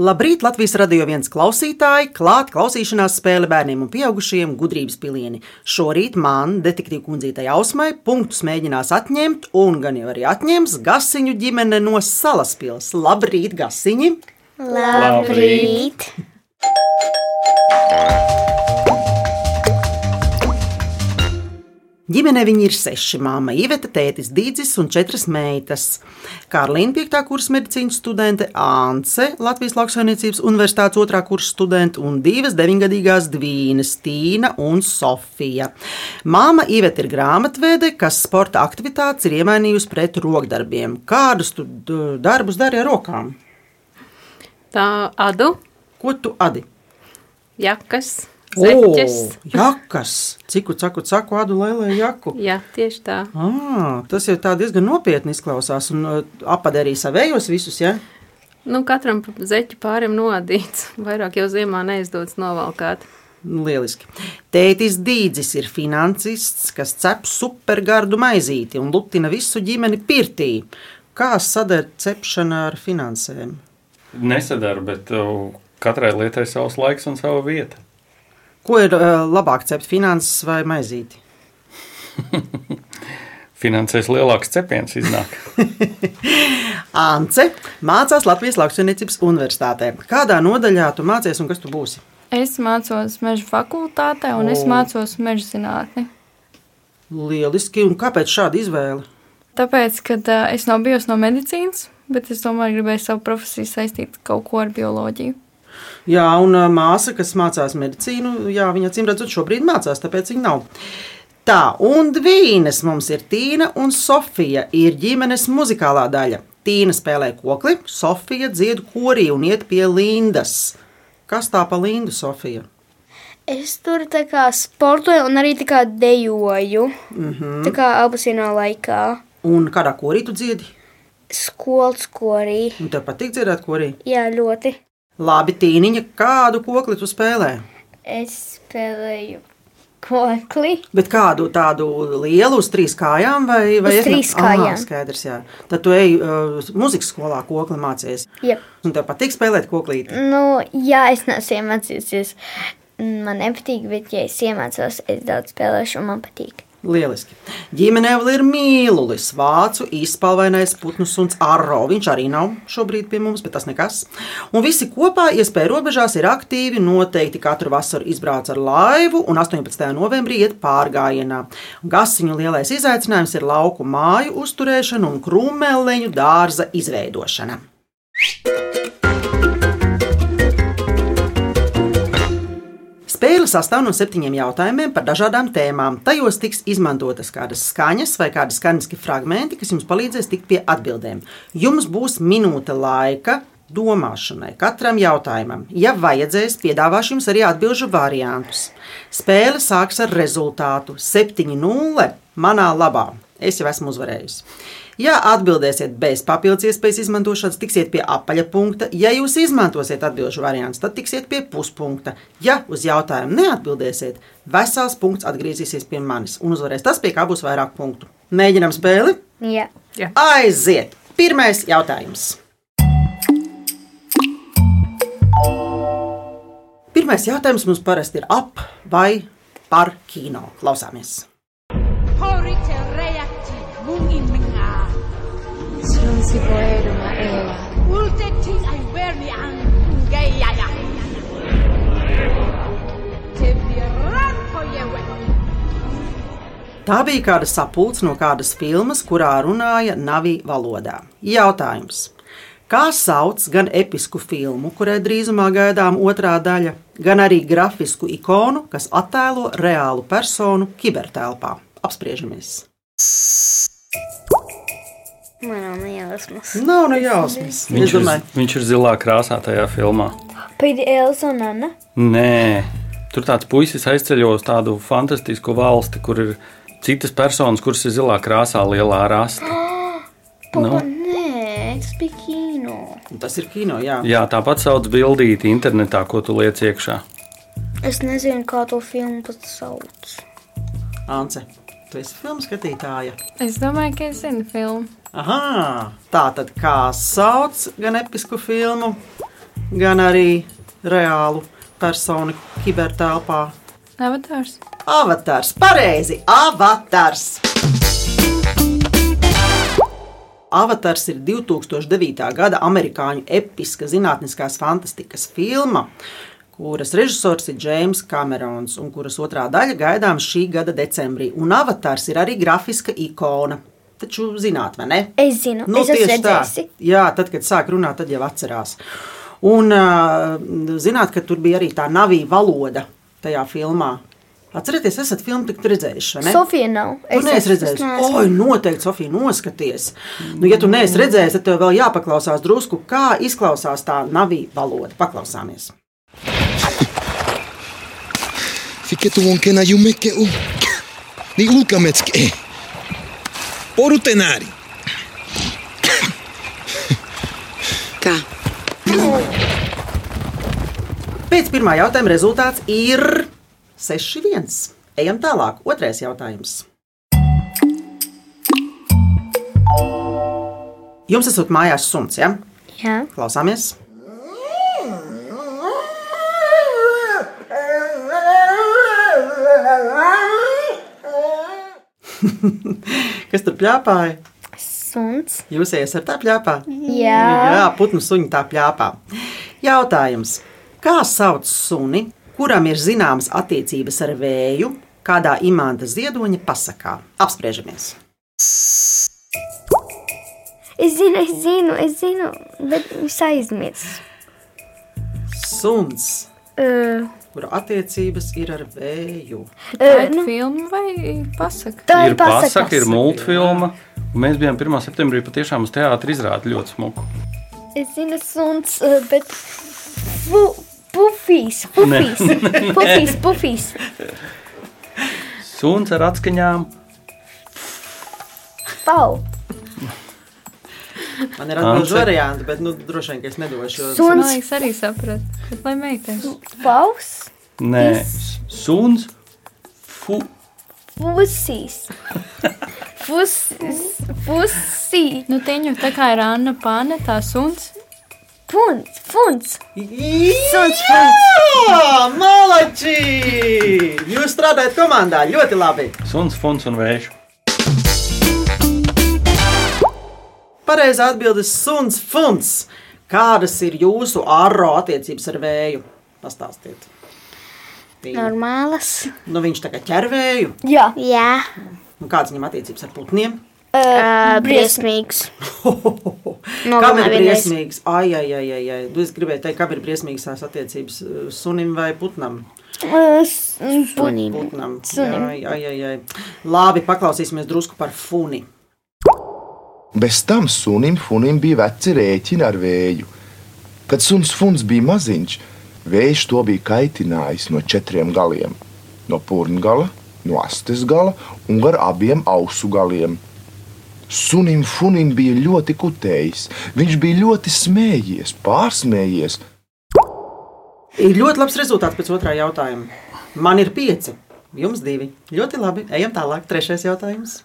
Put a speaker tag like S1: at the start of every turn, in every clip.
S1: Labrīt, Latvijas radio viens klausītāji! Klāt klausīšanās spēle bērniem un pieaugušajiem gudrības pilieni. Šorīt man, detektīva kundzītei Ausmai, punktus mēģinās atņemt, un gan jau arī atņems Gasiņu ģimene no Salaspils. Labrīt, Gasiņi!
S2: Labrīt!
S1: Ģimene viņi ir seši - māma, Iveta, tētis Dīdzis un četras meitas. Karlīna 5. kursa medicīnas studente, Ānce, Latvijas lauksaimniecības universitātes 2. kursa studente un divas 9-gadīgās dvīnes - Tīna un Sofija. Māma Iveta ir grāmatvede, kas sporta aktivitātes ir iemainījusi pret rokdarbiem. Kādus tu d- darbus dari ar rokām?
S3: Tā adu,
S1: Ko tu adi?
S3: jakas, zeķes.
S1: O, jakas! Ciku, caku, caku, adu lēlē jaku!
S3: Jā, tieši tā.
S1: Ah, tas jau tā diezgan nopietni izklausās. Un uh, apadarīja savējos visus, ja?
S3: Nu, katram pa zeķu pārim nodīts. Vairāk jau ziemā neizdodas novalkāt.
S1: Nu, Lieliski. Tētis Dīdzis ir finansists, kas cep supergardu maizīti un lutina visu ģimeni pirtī. Kā sadara cepšana ar finansēm?
S2: Nesadara, bet uh, katrai lietai savs laiks un sava vieta.
S1: Ko ir uh, labāk cept finanses vai maizīti?
S2: Finansēs lielāks cepiens iznāk.
S1: Ance mācās Latvijas Lauksaimniecības universitātē. Kādā nodaļā tu mācies un kas tu būsi?
S4: Es mācos meža fakultātē, un es
S1: O.
S4: mācos meža zinātni.
S1: Lieliski, un kāpēc šāda izvēle?
S4: Tāpēc, kad uh, es nav bijusi no medicīnas, bet es tomēr gribēju savu profesiju saistīt kaut ko ar bioloģiju.
S1: Jā, un ā, māsa, kas mācās medicīnu, jā, viņa acīm redzot, šobrīd mācās, tāpēc viņa nav. Tā, un divas mums ir Tīna un Sofija, ir ģimenes muzikālā daļa. Tīna spēlē kokli, Sofija dzied korī un iet pie Lindas. Kas tā pa Lindu, Sofija?
S5: Es tur tā kā sportoju un arī tā kā dejoju. Mm -hmm. Tā kā abas vienā laikā.
S1: Un kādā korī tu dziedi?
S5: Skolas korī.
S1: Un tev patīk dzirdēt korī.
S5: Jā, ļoti.
S1: Labi, Tīniņa, kādu kokli tu spēlē?
S5: Es spēlēju kokli.
S1: Bet kādu tādu lielu uz trīs kājām vai vai
S5: Uz
S1: es ne-
S5: trīs
S1: Aha,
S5: kājām.
S1: skaidrs, jā. Tad tu ej uz uh, muzikas skolā, kokli mācies.
S5: Jep.
S1: Un tev patīk spēlēt koklīti.
S5: Nu, jā, es neesmu iemācījusies. Man nepatīk, bet ja es iemācos, es daudz spēlēšu un man patīk.
S1: Lieliski. Ģimenē vēl ir mīlulis, vācu izpalvainais putnu suns Arro. Viņš arī nav šobrīd pie mums, bet tas nekas. Un visi kopā, iespēja robežās, ir aktīvi. Noteikti katru vasaru izbrauc ar laivu un 18. novembrī iet pārgājienā. Gasiņu lielais izaicinājums ir lauku māju uzturēšana un krūmeleņu dārza izveidošana. Spēle sastāv no septiņiem jautājumiem par dažādām tēmām. Tajos tiks izmantotas kādas skaņas vai kādi skaņas fragmenti, kas jums palīdzēs tikt pie atbildēm. Jums būs minūte laika domāšanai katram jautājumam. Ja vajadzēs, piedāvāšu jums arī atbildžu variantus. Spēle sāks ar rezultātu 7-0 manā labā. Es jau esmu uzvarējusi. Ja atbildēsiet bez papildus iespējas izmantošanas, tiksiet pie apaļa punkta. Ja jūs izmantosiet atbildžu variantu, tad tiksiet pie puspunkta. Ja uz jautājumu neatbildēsiet, vesels punkts atgriezīsies pie manis un uzvarēs tas, pie kā būs vairāk punktu. Mēģinām spēli!
S5: Jā.
S1: Aiziet! Pirmais jautājums. Pirmais jautājums mums parasti ir ap vai par kino. Klausāmies!
S6: Horite reacti mungimnga. Ulteti aiwerni an ngeyaya. Te viran koyewe.
S1: Tā bija kāda sapulce no kādas filmas, kurā runāja Navī valodā. Jautājums. Kā sauc gan episku filmu, kurai drīzumā gaidām otrā daļa, gan arī grafisku ikonu, kas attēlo reālu personu kibertelpā? Apspriežamies.
S5: Man nav nejausmas.
S1: Nav no jausmas. Es
S2: Viņš, ir,
S1: domāju,
S2: viņš ir zilā krāsā tajā filmā.
S5: Pēc Elsa un Anna.
S2: Nē, tur tāds puisis aizceļo uz tādu fantastisku valsti, kur ir citas personas, kuras ir zilā krāsā, lielā rasta.
S5: Papa,
S2: Nu.
S5: nē, es biju kino.
S1: tas ir kino, jā.
S2: Jā, tāpat sauc bildīti internetā, ko tu liec iekšā.
S5: Es nezinu, kā to filmu pat sauc.
S1: Ance, tu esi filmu skatītāja.
S4: Es domāju, ka es zinu
S3: Nu?
S4: filmu.
S1: Aha, tā tad kā sauc gan episku filmu, gan arī reālu personu kibertelpā.
S4: Avatārs.
S1: Avatars, pareizi, avatars! Avatars ir 2009. gada amerikāņu episka zinātniskās fantastikas filma, kuras režisors ir James Kamerons un kuras otrā daļa gaidām šī gada decembrī. Un avatars ir arī grafiska ikona. Taču zināt, vai ne?
S5: Es zinu, es esmu redzējusi.
S1: Nu, Tā. Jā, tad, kad sāk runāt, tad jau atcerās. Un ā, zināt, ka tur bija arī tā navija valoda tajā filmā. Atcerieties, esat filmu tik redzējuši, vai ne?
S5: Sofija nav.
S1: Es neesmu redzējis. Oi, noteikti, Sofija, noskaties. Nu, ja tu neesi redzējis, tad tev vēl jāpaklausās drusku, kā izklausās tā navija valoda. Paklausāmies.
S7: Fiketu wonkena yumekeu. Ni ulkametske. Porutenari.
S8: Kā?
S1: Pēc pirmā jautājuma rezultāts ir 6-1. Ejam tālāk. Otrais jautājums. Jums esot mājās suns, ja?
S5: Jā,
S1: Klausāmies! Kas tur plēpāja?
S5: suns.
S1: Jūs esat tā plēpā?
S5: Jā,
S1: Jā, putnu suņi tā plēpā. Jautājums. Kā sauc suni, kuram ir zināmas attiecības ar vēju, kādā imanta ziedoņa pasakā? Apspriežamies.
S5: es zinu, es zinu, es zinu, bet viņš aizmirst.
S1: Suns,
S5: Uh,
S1: kura attiecības ir ar vēju.
S4: Tā
S5: uh,
S4: ir
S5: nu,
S4: filma vai pasaka?
S5: tā
S2: ir
S5: ir
S2: pasaka, ir
S5: pasaka.
S2: multfilma. un Mēs bijām 1. septembrī patiešām uz teātra izrādi ļoti smuku.
S5: Es zinu, suns, uh, bet fu- pufīs, pufīs, pufīs, pufīs.
S2: Suns ar atskaņām.
S5: Pau.
S1: Man ir atbildīgs
S2: Ance?
S1: variants, bet nu, droši vien, ka es nedošu. jo-
S4: Man
S5: Suns,
S4: liekas, arī sapratu. Bet lai meitenes.
S5: paus,
S2: Nē, suns. Fu,
S5: pusīs. Pus, pusī,
S4: Nu, teņu tā kā ir Anna Pāne, tā suns.
S5: punts, funts.
S1: Suns Jā, malači! Jūs strādājat komandā ļoti labi.
S2: suns, funds un vējš.
S1: Pareizā atbilde ir suns, funds. Kādas ir jūsu ārā attiecības ar vēju? Pastāstiet. Tīri.
S5: Normālas.
S1: Nu, viņš tā kā ķer vēju.
S5: Jā. Jā.
S1: Nu, kādas viņam attiecības ar putniem?
S5: Uh, briesmīgs.
S1: No, kam ir briesmīgs? Ai, ai, ai, ai, ai. Nu, Es gribēju teikt, kam ir briesmīgas tās attiecības eh, sunim vai putnam.
S5: Eh, Punība.
S1: Putnam. Ai, ai, ai, ai. Labi, paklausīsimies drusku par funi.
S9: Bez tam sunim funim bija veci rēķini ar vēju. Kad suns funs bija maziņš, vējš to bija kaitinājis no četriem galiem - no purna gala, no astes gala un gar abiem ausu galiem. Sunim funim bija ļoti kutējis, viņš bija ļoti smējies, pārsmējies.
S1: Ir ļoti labs rezultāts pēc otrā jautājuma. Man ir pieci, jums divi. Ļoti labi. Ejam tālāk. Trešais jautājums.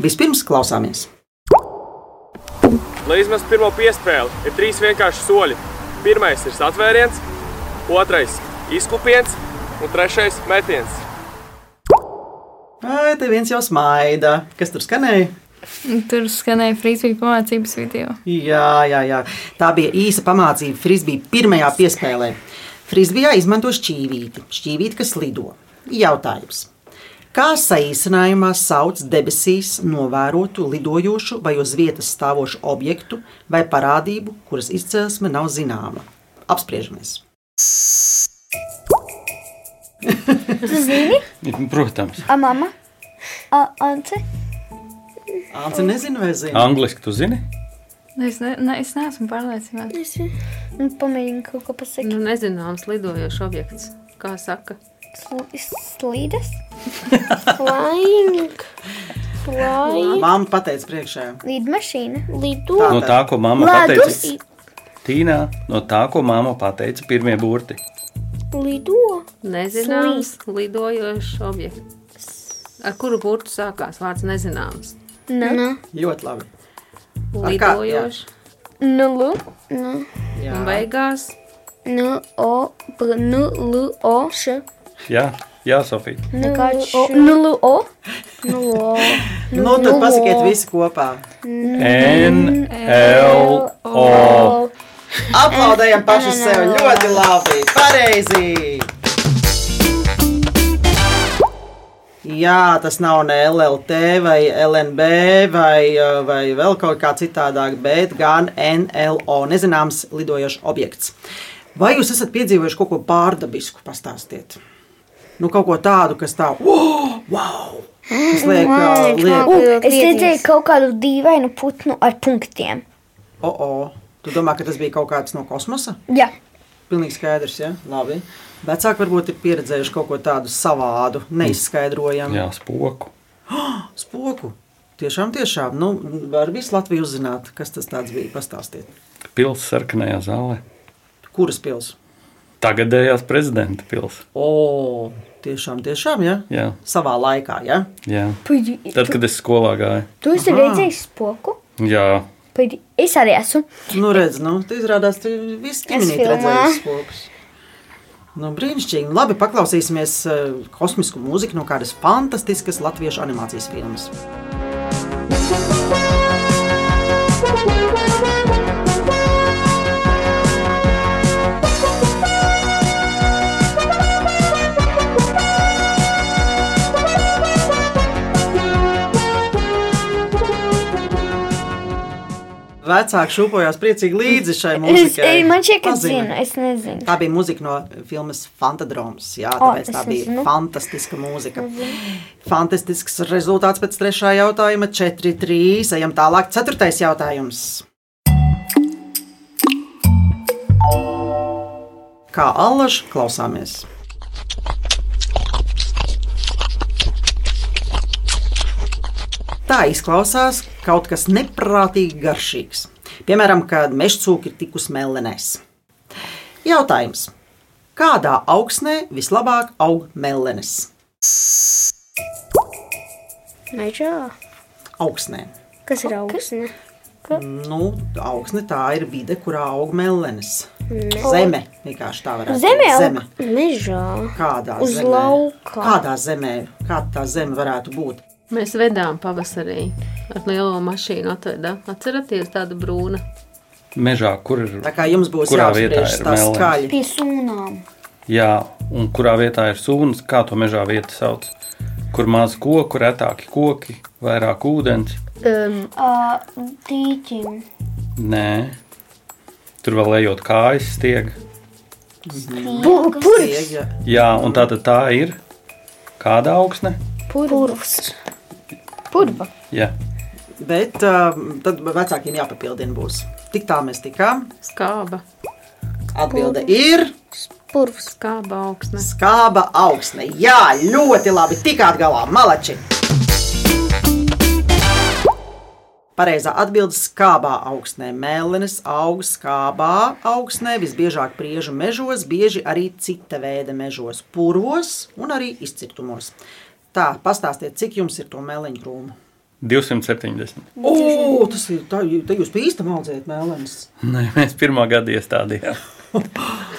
S1: Vispirms klausāmies.
S10: Lai izmestu pirmo piespēli, ir trīs vienkārši soļi. Pirmais ir satvēriens, otrais - izkupiens, un trešais - metiens.
S1: Ai, te viens jau smaida. Kas tur skanēja?
S4: Tur skanēja frīzvīja pamācības video.
S1: Jā, jā, jā. Tā bija īsa pamācība frisbija pirmajā piespēlē. Frisbijā izmanto šķīvīti, šķīvīti, kas lido. Jautājums. Kā saīsinājumā sauc debesīs novērotu lidojošu vai uz vietas stāvošu objektu vai parādību, kuras izcelsme nav zināma? Apspriežamies.
S2: Protams,
S5: A mama? A ante?
S1: Ance nezinu, vai zinu.
S2: angliski tu zini.
S4: Es, ne, ne, es neesmu pārliecināta.
S5: Nu, Pamēģini kaut ko pasakīt.
S3: Nu, nezināms lidojošs objekts, kā saka.
S5: Sl- Slīdes? Flying. Flying.
S1: Māma pateica priekšējā.
S5: Lidmašīna.
S1: Tā,
S5: Lido.
S2: No tā, ko mamma
S5: Ledus.
S2: pateica. Tīnā, no tā, ko mamma pateica, pirmie burti.
S5: Lido.
S3: Nezināms lidojošs objekts. Ar kuru burtu sākās vārds nezināms?
S5: Nē.
S1: Ļoti labi. Ar kā?
S3: lidojoši.
S5: Nu, lu, nu,
S1: Jā.
S3: Un beigās
S5: nu, o, pl, nu, lu, o, š,
S2: Jā, jā Sofija.
S5: nu,
S4: Nekāds
S5: lu, o,
S4: š.
S5: nu, lu, o, nu, o,
S1: Nu, tad pasakiet visi kopā.
S2: N, L, O.
S1: Aplaudējam paši sev ļoti labi. Pareizi! Jā, tas nav ne LLT vai LNB vai, uh, vai vēl kaut kā citādāk, bet gan NLO, nezināms lidojošs objekts. Vai jūs esat piedzīvojuši kaut ko pārdabisku? Pastāstiet. Nu, kaut ko tādu, kas tā, oh, wow! Tas liek, uh, liek,
S5: U, es redzēju kaut kādu dīvainu putnu ar punktiem.
S1: o, o. Tu domā, ka tas bija kaut kāds no kosmosa?
S5: Jā,
S1: Pilnīgi skaidrs, ja labi. Vecāki varbūt ir pieredzējuši kaut ko tādu savādu, neizskaidrojamu
S2: Jā, spoku.
S1: spoku. Tiešām, tiešām, nu, var visu Latviju uzzināt, kas tas tāds bija. Pastāstiet,
S2: Pils sarkanajā zālē.
S1: kuras pils?
S2: Tagadējās prezidenta pils.
S1: O, tiešām, tiešām, ja?
S2: Jā,
S1: Savā laikā, ja?
S2: jā.
S5: puģi,
S2: Tad, kad es skolā gāju.
S5: tu esi
S1: Aha.
S5: redzējis spoku?
S2: Jā,
S5: Puģi, es arī esmu.
S1: Nu, redz, nu, tu izrādās, tu viss ķimenīt
S5: filmā.
S1: redzējis spokus. Nu, brīnišķīgi. Nu, Labi, paklausīsimies eh, kosmisku mūziku no kādas fantastiskas latviešu animācijas filmas. Vecāki šūpojās priecīgi līdzi šai
S5: Es,
S1: mūzikai.
S5: man šķiet, ka
S1: Pazina.
S5: zinu, es nezinu.
S1: Tā bija mūzika no filmas Fantadroms. Jā,
S5: O,
S1: tāpēc
S5: es
S1: tā bija
S5: nezinu.
S1: fantastiska mūzika. Fantastisks rezultāts pēc trešā jautājuma - 4-3. Ejam tālāk. Ceturtais jautājums. Kā allaž klausāmies? Tā izklausās kaut kas neprātīgi garšīgs. Piemēram, kad mežcūka ir tikus melnēs. Jautājums. Kādā augsnē vislabāk aug melnēs?
S5: Mežā.
S1: Augsnē.
S5: Kas ir augsne?
S1: Nu, augsne tā ir vide, kurā aug melnēs. Zeme vienkārši tā varētu
S5: Zemē.
S1: būt.
S5: Zeme. Mežā.
S1: Kādā
S5: Uz
S1: zemē?
S5: lauka.
S1: Kādā zemē? Kāda tā zeme varētu būt?
S3: mēs vedām pavasarī ar lielo mašīnu. Atvedā. Atceraties, tāda brūna.
S2: mežā, kur ir.
S1: Tā kā jums būs
S2: Kurā vietā
S1: jāapspriež
S2: ir
S1: tā
S2: mellenes?
S1: skaļi.
S5: Pie sūnām.
S2: Jā, un kurā vietā ir sūns, kā to mežā vietu sauc. Kur maz koku, retāki koki, vairāk ūdens.
S5: Uh, Tīķim.
S2: Nē, tur vēl ejot kājas stiega.
S5: Purvs.
S1: Iega.
S2: Jā, un tā tad tā ir. Kāda augsne?
S5: Purvs.
S2: Jā,
S1: Bet uh, tad vecākiem jāpapildina būs. Tik tā mēs tikām.
S3: Skāba,
S1: Atbilde ir
S5: Purvs.
S3: skāba augsne.
S1: skāba augsne. Jā, ļoti labi. Tikāt galā, malači! Pareizā atbilde - skābā augsnē. Mēlenes aug skābā augsnē, visbiežāk priežu mežos, bieži arī cita veida mežos, purvos un arī izcirtumos. Tā, pastāstiet, cik jums ir to mēlēņu krūmu?
S2: 270.
S1: O, tas ir tā, jū- tā jūs pie īsta audzējat mēlenes.
S2: Nē, mēs pirmā gada iestādījām.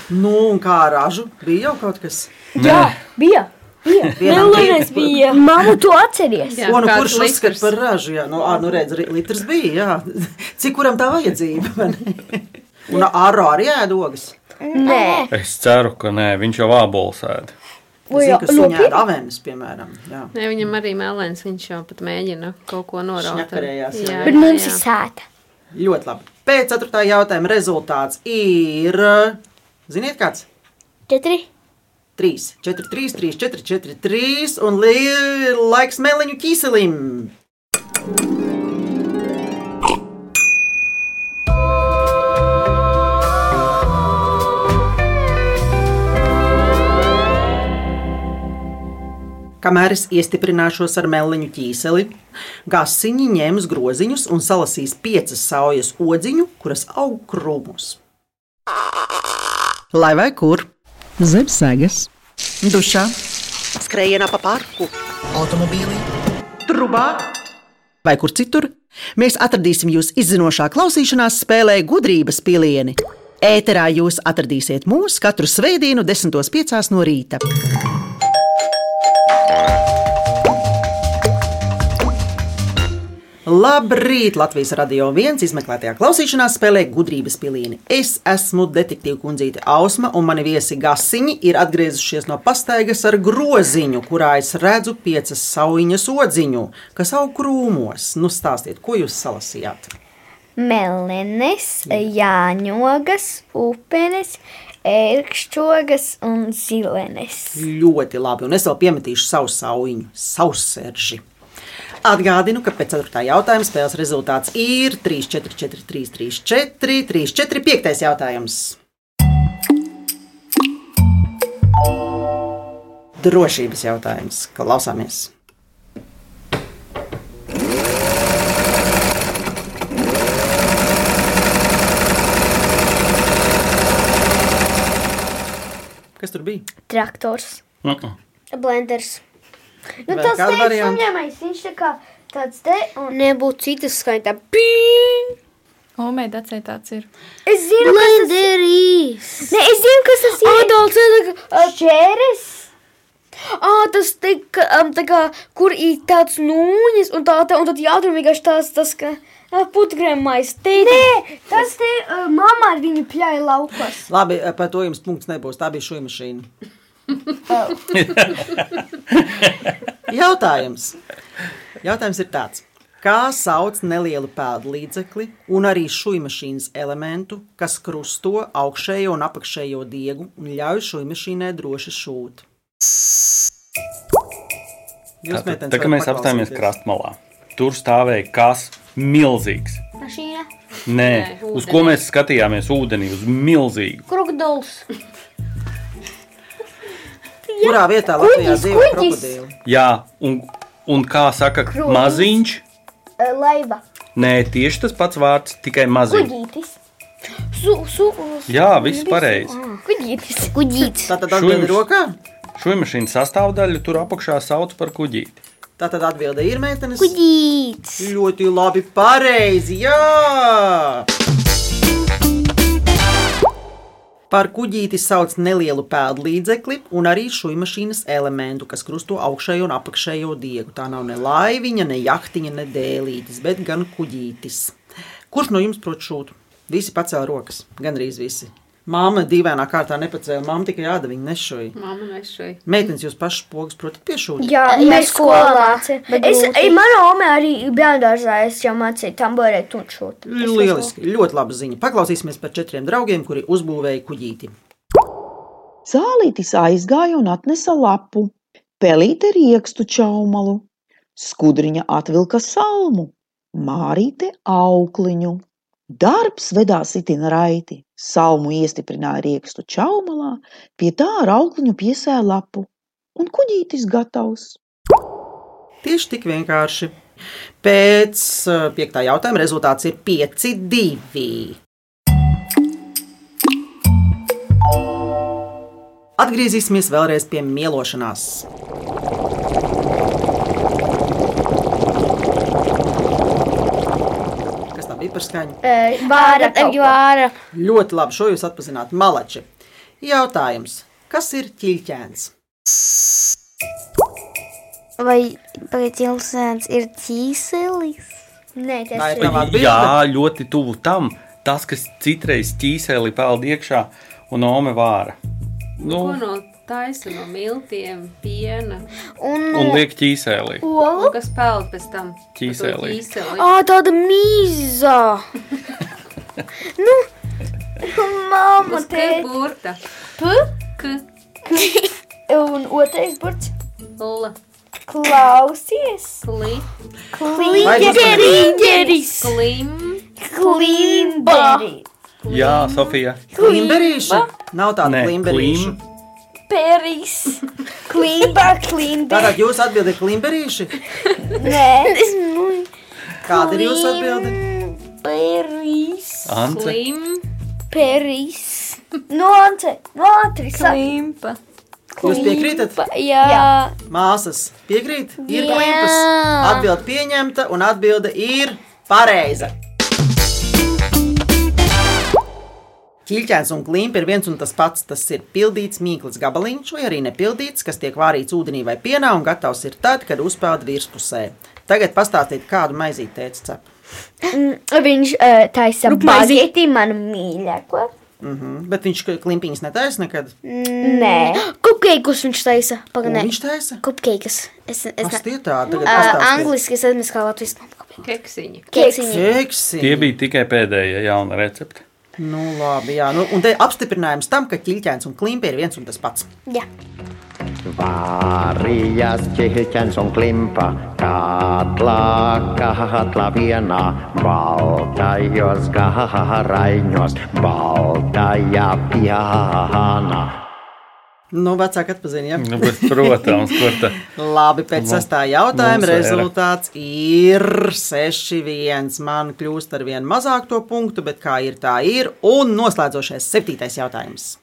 S1: Nu, un kā ar ražu? Bija jau kaut kas.
S5: Jā, bija. Bija.
S1: Vienam
S5: Melnēs bija. Mamu, tu atceries?
S1: Jā, nu,
S3: kāds
S1: kurš uzskata
S3: litrs.
S1: par ražu? Jā, nu, ā, nu redz, ri- litrs bija. Jā. Cik kuram tā vajadzība? vai ne? Un ārā arī ēd ogas.
S5: Nē.
S2: Es ceru, ka nē, viņš jau ābols ēd.
S1: Zinu,
S5: jā, nu,
S1: kas viņa
S5: nopietni?
S1: ēd avenes, piemēram. Jā.
S3: Nē, viņam arī mēlēns, viņš jau pat mēģina kaut ko noraut.
S1: Šņakarējās, jā.
S5: Bet mums ir sēta.
S1: Ļoti labi. Pēc ceturtā jautājuma rezultāts ir, ziniet kāds?
S5: Četri.
S1: 3, 4, 3, 3, 4, 4, 3 un li- laiks meliņu ķīselim. Kamēr es iestiprināšos ar meliņu ķīseli, gasiņi ņems groziņus un salasīs piecas saujas odziņu, kuras aug krūmus. Lai vai kur?
S11: zem segas,
S1: dušā, skrējienā pa parku,
S11: automobīlī,
S1: trubā vai kur citur, Mēs atradīsim jūs izzinošā klausīšanās spēlē gudrības pilieni. Ēterā jūs atradīsiet mūs katru svētdienu, 10.5. no rīta. Labrīt! Latvijas radio viens izmeklētajā klausīšanās spēlē gudrības pilieni. Es esmu detektīva kundzīte Ausma, un mani viesi gasiņi ir atgriezušies no pastaigas ar groziņu, kurā es redzu piecas sauļņas odziņu, kas aug krūmos. Nu, stāstiet, ko jūs salasījāt?
S5: Melnes, jāņogas, upenes, ērkšķogas un zilenes.
S1: Ļoti labi, un es vēl piemetīšu savu sauļņu, savu sērži. Atgādinu, ka pēc 4. jautājuma spēles rezultāts ir 3, 4, 4, 3, 3, 4, 3, 4, 5. jautājums. Drošības jautājums. Klausāmies! Kas tur bija?
S5: Traktors,
S2: Nu, nu.
S5: blenders.
S1: Nu, Vēl tas kādi teiks varianti?
S5: saņēmējs, viņš tā kā tāds te un nebūtu citas skaitā. Pīn!
S4: Omēda acē tāds ir.
S5: Es zinu,
S11: Blenderīs!
S5: Ne, es zinu, kas tas ir.
S11: Adolfs ir
S5: Čēres.
S11: Ah, tas tik, um, tā kā, kur ir tāds nūjas, un tā, tā un tad jādara vienkārši tās, tas, ka uh, putgrēmais teikt. Nē, tas te uh, mamā ar viņu pļāja laukos.
S1: Labi, eh, par to jums punkts nebūs. Tā bija šī mašīna. Jautājums. Jautājums ir tāds. Kā sauc nelielu pēdu līdzekli un arī šūnu mašīnas elementu, kas krusto augšējo un apakšējo diegu un ļauj šūnu mašīnai droši šūt?
S2: Tā, tā,
S1: meitenes,
S2: tā kā
S1: varat
S2: mēs apstājamies
S1: paklausīties.
S2: krastmalā, tur stāvēja kas milzīgs.
S11: Mašīna.
S2: Nē,
S11: Nē,
S2: uz
S11: ūdenī.
S2: ko mēs skatījāmies? Udenī, uz milzīgu.
S11: Krokodils.
S1: Kurā vietā Latvijā
S11: Kuģis,
S1: dzīvo
S11: kuģis.
S1: krokodili?
S2: Jā, un, un kā saka,
S11: Krokodils.
S2: maziņš.
S11: Laiva.
S2: Nē, tieši tas pats vārds, tikai maziņš.
S11: Kuģītis. Su, su,
S2: Jā, viss pareizi.
S11: Kuģītis.
S5: Kuģītis.
S1: Tā tad atbildi
S2: Šuimaš-
S1: rokā.
S2: Šūmašīna sastāvdaļa tur apakšā sauc par kuģīti.
S1: Tā tad atbilde ir meitenes.
S5: Kuģītis.
S1: Ļoti labi, pareizi. Jā! Par kuģīti sauc nelielu pēdu līdzekli un arī šūnu mašīnas elementu, kas krusto augšējo un apakšējo diegu. Tā nav ne laiviņa, ne jahtiņa, ne dēlītis, bet gan kuģītis. Kurš no jums prot šūt? Visi pacēla rokas, gandrīz visi. Māma dīvainā kārtā nepacēla, māma tikai āda viņa nešoja.
S3: Māma nešai.
S1: Meitenes jūs pašas pogas protat piešūt.
S5: Jā,
S11: Jā,
S5: mēs skolā.
S11: skolā. Bet
S5: Es,
S11: grūti.
S5: ej, manā omē arī bērngārzā es jau mācīju tamborēt un šūt.
S1: Nu, Lieliski, ļoti laba ziņa. Paklausīsimies par četriem draugiem, kuri uzbūvēja kuģīti.
S12: Zālītis aizgāja un atnesa lapu, pelīte riekstu čaumalu, skudriņa atvilka salmu, mārīte aukliņu. Darbs vedās itin raiti, salmu iestiprināja riekstu čaumalā, pie tā ar aukliņu piesēja lapu, un kuģītis gatavs.
S1: Tieši tik vienkārši. Pēc eh, piektā jautājuma rezultāts ir 5-2. Atgriezīsimies vēlreiz pie mielošanās. Kas tā bija par skaņu?
S5: Vāra, vāra.
S1: Ļoti labi, šo jūs atpazīstat. Malači. Jautājums. Kas ir ķīļķēns?
S13: Vai pēcilsēns ir ķīselis? Nē,
S1: Vai
S13: tas
S1: tā
S13: ir.
S1: Nav atbilde.
S2: Jā, ļoti tuvu tam. Tas, kas citreiz ķīseli peld iekšā un ome vāra. Nu,
S3: Ko no taisa no miltiem, piena
S2: un liek ķīselī.
S3: olu, kas peld pēc tam
S2: Ķīselī.
S3: Ķīseli.
S11: Ah, tāda mīza. nu,
S5: Mamma,
S3: Uz K
S5: tēti.
S3: burta.
S5: P. Un otrais burts.
S3: L.
S5: Klausies.
S3: Kli.
S5: Klingeris.
S3: Klim.
S5: Klimberi.
S2: Jā, Sofija.
S1: Klimberīši. Nav tāda
S2: Nē,
S1: klimberīša.
S5: Peris. Klimba,
S1: Tātad
S5: klimberi.
S1: jūs atbildat klimberīši.
S5: Nē, es nu.
S1: Kāda ir jūsu atbilde?
S5: Peris.
S1: Ah.
S2: Ance.
S5: Peris. Nu, Nonce, nonce. Klimpa.
S1: Jūs piekrītat?
S5: Jā. Jā.
S1: Māsas piekrīt, ir
S5: Jā.
S1: klimpas. Atbilde pieņemta un atbilde ir Pareizi! Ķīļķēns un klimps ir viens un tas pats. Tas ir pildīts mīklas gabaliņš, vai arī nepildīts, kas tiek vārīts ūdenī vai pienā un gatavs ir tad, kad uzpeld virspusē. Tagad pastāstiet, kādu maizīti teica cep.
S5: Mm, Viņš uh, taisa
S1: Rupmaizi.
S5: bagetī manu mīļāko.
S1: Mm -hmm. Bet viņš klimpiņas netaisa nekad.
S5: Nē.
S11: Kupkeikus viņš taisa.
S1: Ko
S5: Paganē.
S1: viņš taisa?
S5: Kupkeikas. Es, es
S1: Kas
S5: ne-
S1: tie tādi? Tagad
S5: Ā,
S1: pastāstiet.
S5: Angliski es nezinu, kā latvijas.
S3: Keksiņi.
S2: Tie bija tikai pēdējie jauna recepte.
S1: Nu, labi, jā. Nu, un te apstiprinājums tam, ka ķīļķēns un klimpi ir viens un tas pats.
S5: Jā.
S14: Varijas kihikens on klimpa, katla kahatla viena, valta jos kaharainjos, valta ja pihana.
S1: Nu, vecāki atpazīst,
S2: Nu,
S1: jau
S2: bet, protams, kur tā.
S1: Labi, pēc
S2: Mums-
S1: sastā jautājuma
S2: mums era.
S1: rezultāts ir 6-1. Man kļūst ar vien mazāk to punktu, bet kā ir, tā ir. Un noslēdzošais septītais jautājums.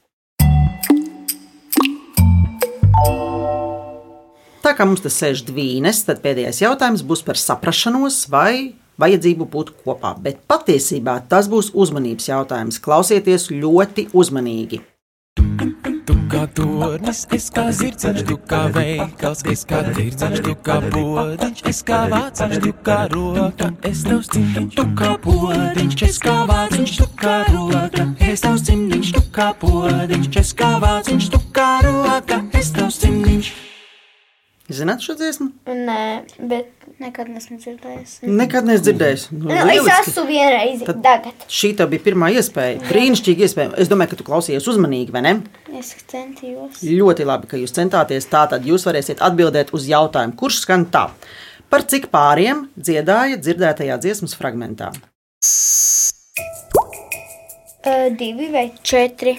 S1: Tā kā mums tas sēž divas, tad pēdējais jautājums būs par saprašanos vai vajadzību būt kopā. Bet patiesībā tas būs uzmanības jautājums. Klausieties ļoti uzmanīgi.
S15: Tu kā tornis, es kā zirdziņš, tu kā veikals, es kā tirdziņš, tu kā podziņš, es kā vāciņš, tu kā roka, es tavs cimdiņš, tu kā podziņš, es kā vāciņš, tu kā roka, es tavs cimdiņš, tu kā podziņš, es kā vāciņš, tu kā roka, es tavs cimdiņš.
S1: Zināt šo dziesmu?
S5: Nē, bet nekad nesmu dzirdējis.
S1: Nekad neesmu dzirdējis. Nu,
S5: Nu, es
S1: lieliski.
S5: esmu vienreiz.
S1: Tad-
S5: Tagad.
S1: Šī tev bija pirmā iespēja. Brīnišķīga iespēja. Es domāju, ka tu klausies uzmanīgi, vai ne?
S5: Es centījos.
S1: Ļoti labi, ka jūs centāties. Tā tad jūs varēsiet atbildēt uz jautājumu, kurš skan tā. Par cik pāriem dziedāja dzirdētajā dziesmas fragmentā?
S5: Uh, divi vai četri?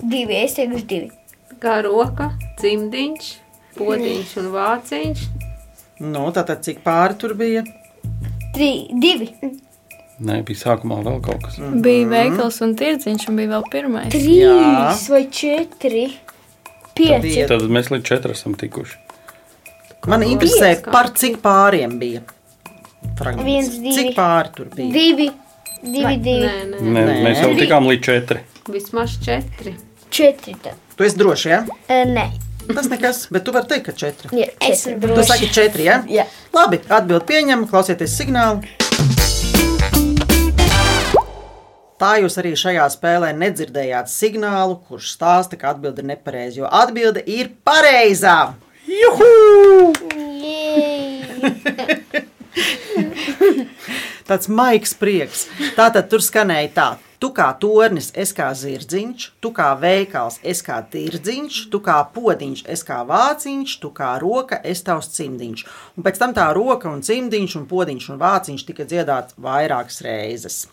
S5: Divi, es teikšu, divi.
S3: Kā roka, cimdiņš, podiņš un vāciņš.
S1: Nu, tātad cik pāri tur bija?
S5: Trīs, divi.
S2: Nē, bija sākumā vēl kaut kas.
S4: Bija veikals un tirdziņš, un bija vēl pirmais.
S2: Trīs Jā.
S5: vai četri?
S2: Tad mēs līdz četriem esam tikuši.
S1: Man interesē,
S5: Pieci.
S1: par cik pāriem bija. fragments.
S5: Viens, divi.
S1: Cik pāri tur bija?
S5: Divi, divi, divi. Nē,
S3: nē.
S2: Nē,
S1: Nē.
S2: mēs jau tikām līdz četriem.
S3: Vismaz četri.
S5: Četri tad.
S1: Tu esi droši, jā? Ja?
S5: Uh, nē.
S1: Tas nekas, bet tu vari teikt, ka četri.
S5: Jā, es
S1: Tu saki četri, jā?
S5: Jā.
S1: Labi, atbild pieņem, klausieties signālu. Tā jūs arī šajā spēlē nedzirdējāt signālu, kurš stāsta, ka atbilde ir nepareiza, jo atbilde ir pareizā. Juhu! Tāds maigs prieks. Tā tad tur skanēja tā. Tu kā tornis, es kā zirdziņš, tu kā veikals, es kā tirdziņš, tu kā podziņš, es kā vāciņš, tu kā roka, es tavs cimdiņš. Un pēc tam tā roka un cimdiņš un podziņš un vāciņš tika dziedāts vairākas reizes.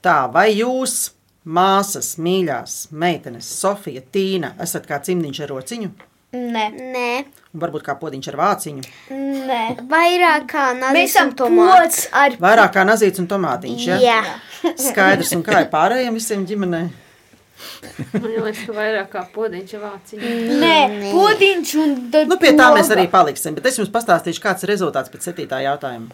S1: Tā vai jūs, māsas, mīļās, meitenes, Sofija, Tīna, esat kā cimdiņš ar rociņu?
S5: Nē. Nē.
S1: Un varbūt kā podziņš ar vāciņu?
S5: Nē. Vairāk kā nāca.
S11: Mēs esam pods
S5: ar
S1: Vairāk kā nazīts un tomātiņš. Ja?
S5: Jā.
S1: Skaidrs, un kā ir pārējiem visiem ģimenei?
S3: Man liekas, ka vairāk kā podiņš un vāciņš.
S11: Nē, podiņš un
S1: Nu, pie tā mēs arī paliksim. Bet es jums pastāstīšu, kāds ir rezultāts pēc 7. jautājuma.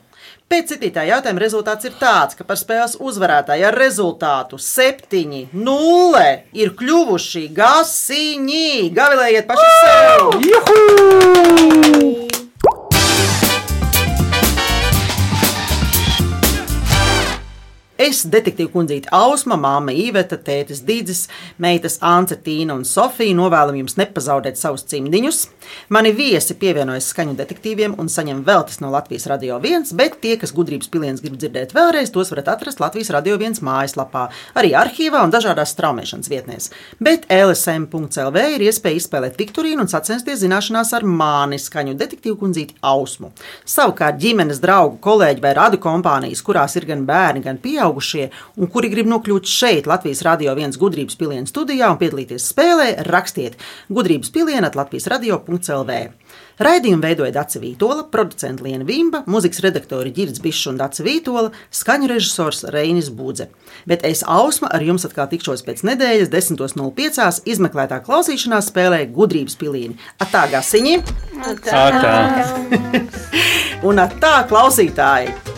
S1: Pēc 7. jautājuma rezultāts ir tāds, ka par spēles uzvarētāju ar rezultātu 7-0 ir kļuvuši gasiņi. Gavilējiet paši sev! Juhu! Es, detektīva kundzīte, Ausma, māma Īveta, tētis Dīdzis, meitas Anta, Tīna un Sofija, novēlam jums nepazaudēt savus cimdiņus. Mani viesi pievienojas skaņu detektīviem un saņem vēl tas no Latvijas Radio 1, bet tie, kas gudrības pilienas grib dzirdēt vēlreiz, tos varat atrast Latvijas Radio 1 mājaslapā, arī arhīvā un dažādās straumēšanas vietnēs. Bet lsm.lv ir iespēja izspēlēt Viktorīnu un sacensties zināšanās ar mani skaņu detektīvu kundzīti Ausmu. Savukārt ģimenes draugu, kolēģi vai radu kompānijas, kurās ir gan bērni, gan pieaugušie, un kuri grib nokļūt šeit, Latvijas radio viens gudrības pilienas studijā un piedalīties spēlē, rakstiet gudrības pilienu at Latvijas radio.lv. Raidījumu veidoja Dācis Vītola, producents Liena Vimba, mūzikas redaktori Girds Bišs un Dācis Vītola, skaņu režisors Reinis Būdze. Bet es Ausma ar jums atkal tikšos pēc nedēļas 10.05. izmeklētā klausīšanās spēlē gudrības pilīni. Atā gasiņi!
S3: Atā.
S1: Un atā klausītāji!